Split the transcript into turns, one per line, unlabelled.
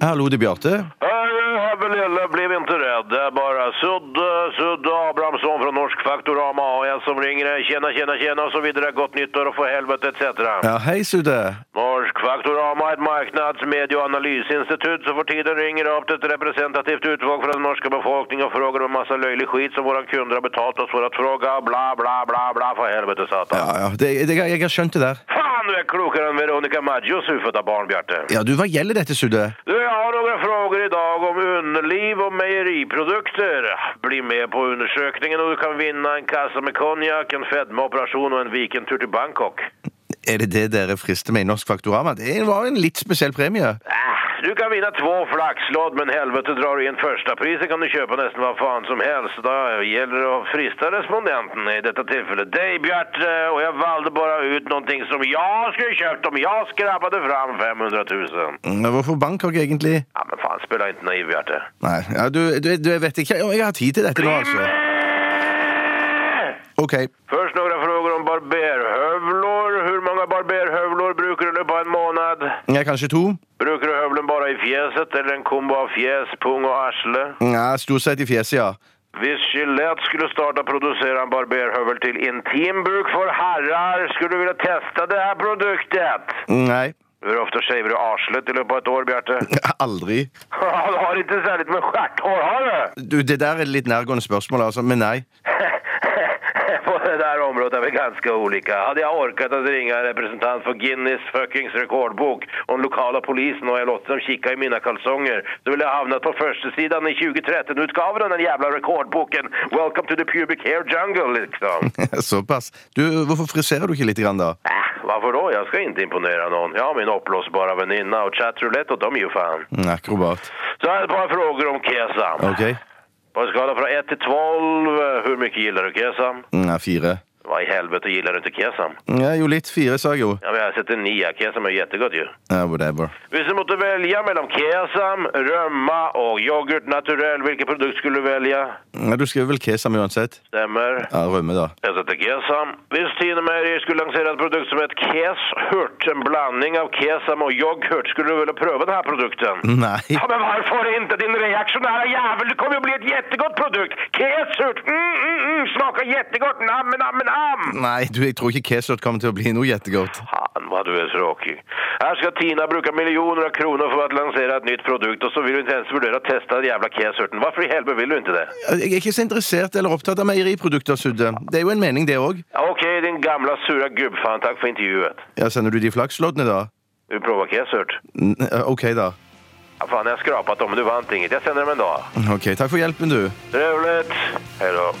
Hallå, det är Bjarte.
Nej, Hebbe lilla, blev inte rädd. Det är bara Sudde, Sudde Abrahamsson från Norsk Faktorama AS som ringer dig. Tjena, tjena, tjena och så vidare. Gott nytt år och för helvete etc.
Ja, hej Sudde.
Norsk Faktorama är ett marknads-, medie och analysinstitut som för tiden ringer upp till ett representativt utvåg för den norska befolkningen och frågar om en massa löjlig skit som våra kunder har betalt oss för att fråga. Bla, bla, bla, bla, för helvete satan.
Ja, ja, det, det, jag, jag skönte där.
Fan, du är klokare än Veronica Maggios huvudfödda barn, Bjarte.
Ja, du, vad gäller detta Sudde?
Du, jag har några frågor idag om underliv och mejeriprodukter. Bli med på undersökningen och du kan vinna en kassa med konjak, en fedmaoperation och en weekendtur till Bangkok.
Är det det dere frister med i Norsk Faktorama? Det var en litt spesiell premie.
Äh, Du kan vinna två flaxlodd, men helvete drar du in första priset kan du köpa nästan vad fan som helst. Då gäller det att frista respondenten i detta tillfälle. Dig Bjarte, och jag valde bara ut någonting som jag skulle köpt om jag skrabbade fram 500 000.
Mm, Hvorfor Bangkok, egentlig?
Ja men fan, spela inte naiv Bjarte.
Nei, ja, du, du, du, jeg vet ikke om jeg har tid til dette nå, altså. OK.
Först några frågor om barberhövlor. Hur många barberhövlor brukar du nu på en månad?
Jeg er kanskje to?
Brukar du hövlen bara i fjäset eller en kombo av fjäs, pung og arsle?
Ja, Stort sett i fjeset, ja.
Hvis Gillette skulle starta producera en barberhövel till intimbruk för herrar, skulle du vilja testa det här produktet?
Nei.
Hur ofta shavar du arslet i löpet av ett år, Bjarte?
Aldri.
du har inte särskilt med stjärthår, har du?
Du, Det der er et litt nærgående spørsmål, altså, men nei.
På det där området är vi ganska olika. Hade jag orkat att ringa en representant för Guinness fuckings rekordbok och den lokala polisen och jag låtit dem kika i mina kalsonger så ville jag hamnat på första sidan i 2013-utgavan av den jävla rekordboken Welcome to the pubic hair jungle liksom.
Såpass. Du, Hvorfor friserer du ikke litt, grann, da?
Äh, varför då? Jag ska inte imponera någon. Jag har min uppblåsbara väninna och chattroulette och de är ju fan.
Mm, Akrobat.
Så här är ett par frågor om kesam.
OK.
På en skala från 1 till 12, hur mycket gillar du kesam?
Nei, fire.
Vad i helvete gillar du inte kesam?
Ja, jo, litt. Fire, sa jeg jo.
Ja, men jag sätter nia. Kesam är jättegott ju.
Ja, whatever.
Hvis du måste välja mellan kesam, römma och yoghurt naturell, vilken produkt skulle du välja?
Ja, du skriver vel kesam uansett?
Stämmer.
Ja, rømme, da.
Jag sätter kesam. Hvis Tine Meijer skulle lansera en produkt som ett keshurt, en blandning av kesam och yoghurt, skulle du vilja pröva den här produkten?
Nei.
Ja, men varför inte? Din reaktionära jävel, det kommer ju bli ett jättegott produkt! Keshurt! Mm, mm, mm, smakar jättegott! Nam, nam, nam!
Nei, du, jeg tror ikke Kesot kommer til å bli noe jettegodt.
Fan vad du är tråkig. Här ska Tina bruka miljoner av kronor för att lansera ett nytt produkt och så vill du inte ens vurdera att testa den jävla kesurten. Varför i helvete vill du inte det?
Jeg er ikke så interessert eller opptatt av meieriprodukter, Sudde. Det er jo en mening, det òg.
Ja, Okej, din gamla sura gubbfan, tack för intervjuet.
Ja, sender du de flaksloddene, da?
Du provar kesurt.
N eh, OK, da.
Ja, fan, jag har skrapat dem, men du vann inget. Jag sänder dem en dag.
OK, takk for hjelpen, du.
Trevligt! Hej då.